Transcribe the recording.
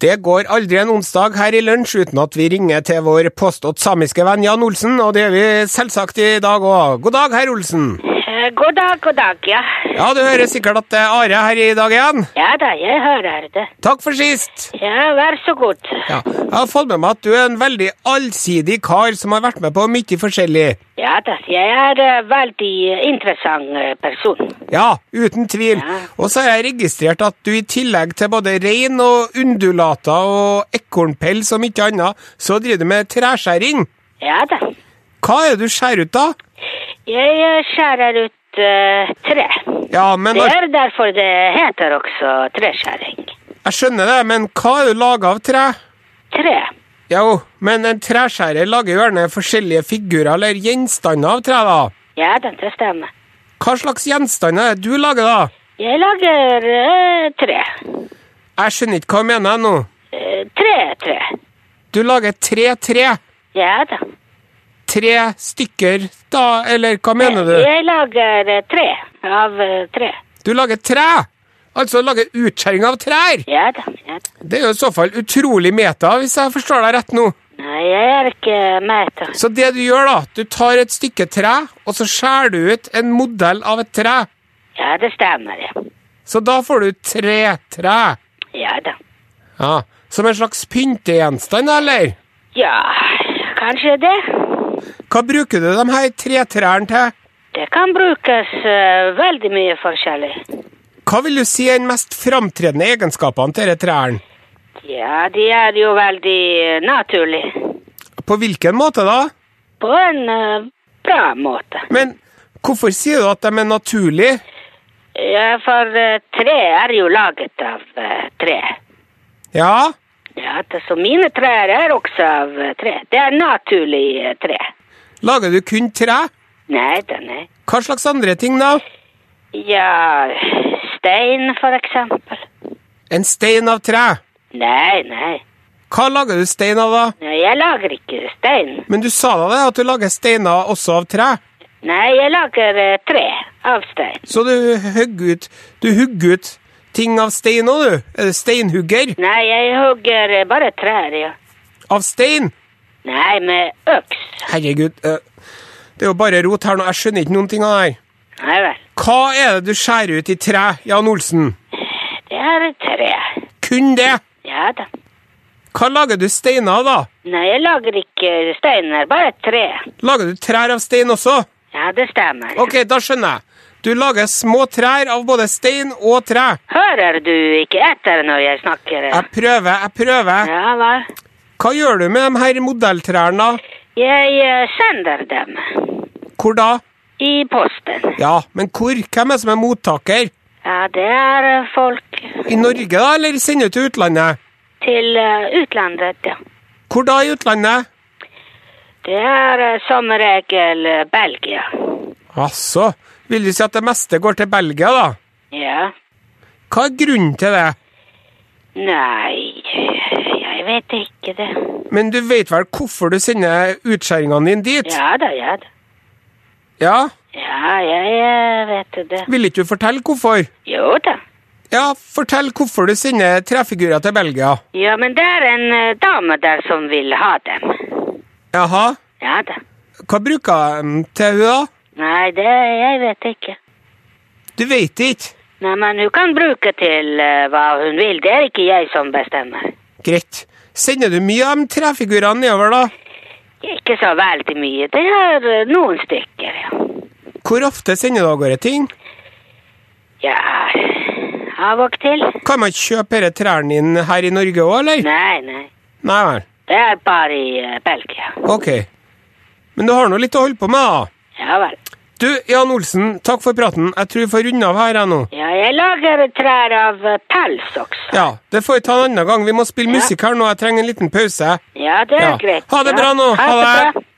Det går aldri en onsdag her i lunsj uten at vi ringer til vår påstått samiske venn Jan Olsen, og det gjør vi selvsagt i dag òg. God dag, herr Olsen. Eh, God dag, god dag, ja. Ja, du hører sikkert at det er Are her i dag igjen. Ja da, jeg hører det. Takk for sist. Ja, vær så god. Ja, jeg har fått med meg at du er en veldig allsidig kar som har vært med på mye forskjellig. Ja da, jeg er eh, veldig interessant eh, person. Ja, uten tvil. Ja. Og så har jeg registrert at du i tillegg til både rein og undulater og ekornpels og mye annet, så driver du med treskjæring. Ja da. Hva er det du skjærer ut, da? Jeg eh, skjærer ut eh, tre. Ja, men Det al- er derfor det heter også treskjæring. Jeg skjønner det, men hva er du laga av tre? Tre. Jo, men en treskjærer lager jo gjerne forskjellige figurer eller gjenstander av tre, da. Ja da, det stemmer. Hva slags gjenstander er det du lager, da? Jeg lager eh, tre. Jeg skjønner ikke hva du mener nå. Eh, tre, tre. Du lager tre tre. Ja da. Tre stykker, da, eller hva mener du? Jeg lager eh, tre av eh, tre. Du lager tre! Altså lager utskjæring av trær! Ja da, ja da. Det er jo i så fall utrolig meta, hvis jeg forstår deg rett nå. Nei, jeg er ikke med til. Så det du gjør, da, du tar et stykke tre, og så skjærer du ut en modell av et tre. Ja, det stemmer, ja. Så da får du tre tre. Ja da. Ja, Som en slags pyntegjenstand, eller? Ja, kanskje det. Hva bruker du de her tretrærne til? Det kan brukes eh, veldig mye forskjellig. Hva vil du si er den mest framtredende egenskapene til disse trærne? Ja, de er jo veldig eh, naturlige. På hvilken måte da? På en eh, bra måte. Men hvorfor sier du at de er naturlige? Ja, for eh, tre er jo laget av eh, tre. Ja, Ja, det, så mine trær er også av eh, tre. Det er naturlig eh, tre. lager du kun tre? Nei da, nei. Hva slags andre ting, da? Ja, stein for eksempel. En stein av tre. Nei, nei. Hva lager du stein av, da? Nei, Jeg lager ikke stein. Men du sa da det at du lager steiner også av tre. Nei, jeg lager eh, tre av stein. Så du hugger ut Du hugger ut ting av stein òg, du. Er du Steinhugger Nei, jeg hugger eh, bare trær, ja. av stein. Nei, med øks. Herregud, eh, det er jo bare rot her nå. Jeg skjønner ikke noen ting av det her. Nei vel. Hva er det du skjærer ut i tre, Jan Olsen? Det er tre. Kun det. Ja da. Hva lager du steiner av, da? Nei, jeg lager ikke steiner, bare tre. Lager du trær av stein også? Ja, det stemmer. Ok, da skjønner jeg. Du lager små trær av både stein og tre. Hører du ikke etter når jeg snakker? eh? Jeg prøver, jeg prøver. Ja, hva? Hva gjør du med de her modelltrærne, da? Jeg eh, sender dem Hvor da? i posten. Ja, men hvor? Hvem er som er mottaker? Ja, det er eh, folk I Norge, da, eller sender du til utlandet? til eh, utlandet, ja. Hvor da i utlandet? Det er eh, som regel eh, Belgia. Altså, vil du si at det meste går til Belgia, da? Ja. Hva er grunnen til det? Nei, jeg vet ikke det. Men du vet vel hvorfor du sender utskjæringene dine dit? Ja da, ja da. ja? Ja, jeg eh, vet det. Vil ikke du fortelle hvorfor? Jo da. Ja, fortell hvorfor du sender trefigurer til Belgia. Ja, men det er en eh, dame der som vil ha dem. Jaha, Ja da. hva bruker de til hun da? Nei, det jeg vet ikke. Du vet ikke. Nei, men hun kan bruke til eh, hva hun vil. Det er ikke jeg som bestemmer. Greit. Sender du mye av de trefigurene nedover, da? Ikke så veldig mye. Det er eh, noen stykker, ja. Hvor ofte sender du av gårde ting? Ja, av og til. Kan man kjøpe disse trærne dine her i Norge òg, eller? Nei, nei. Nei vel. Det er bare i eh, Belgia. Ok. Men du har nå litt å holde på med, da. Ja vel. Du, Jan Olsen, takk for praten. Jeg tror vi får runde av her, jeg nå. Ja, jeg lager trær av eh, pels også. Ja, det får vi ta en annen gang. Vi må spille Ja. musikk her nå. Jeg trenger en liten pause. Ja, det er Ja. greit. Ha det Ja. bra nå. Ha Ha det det. bra.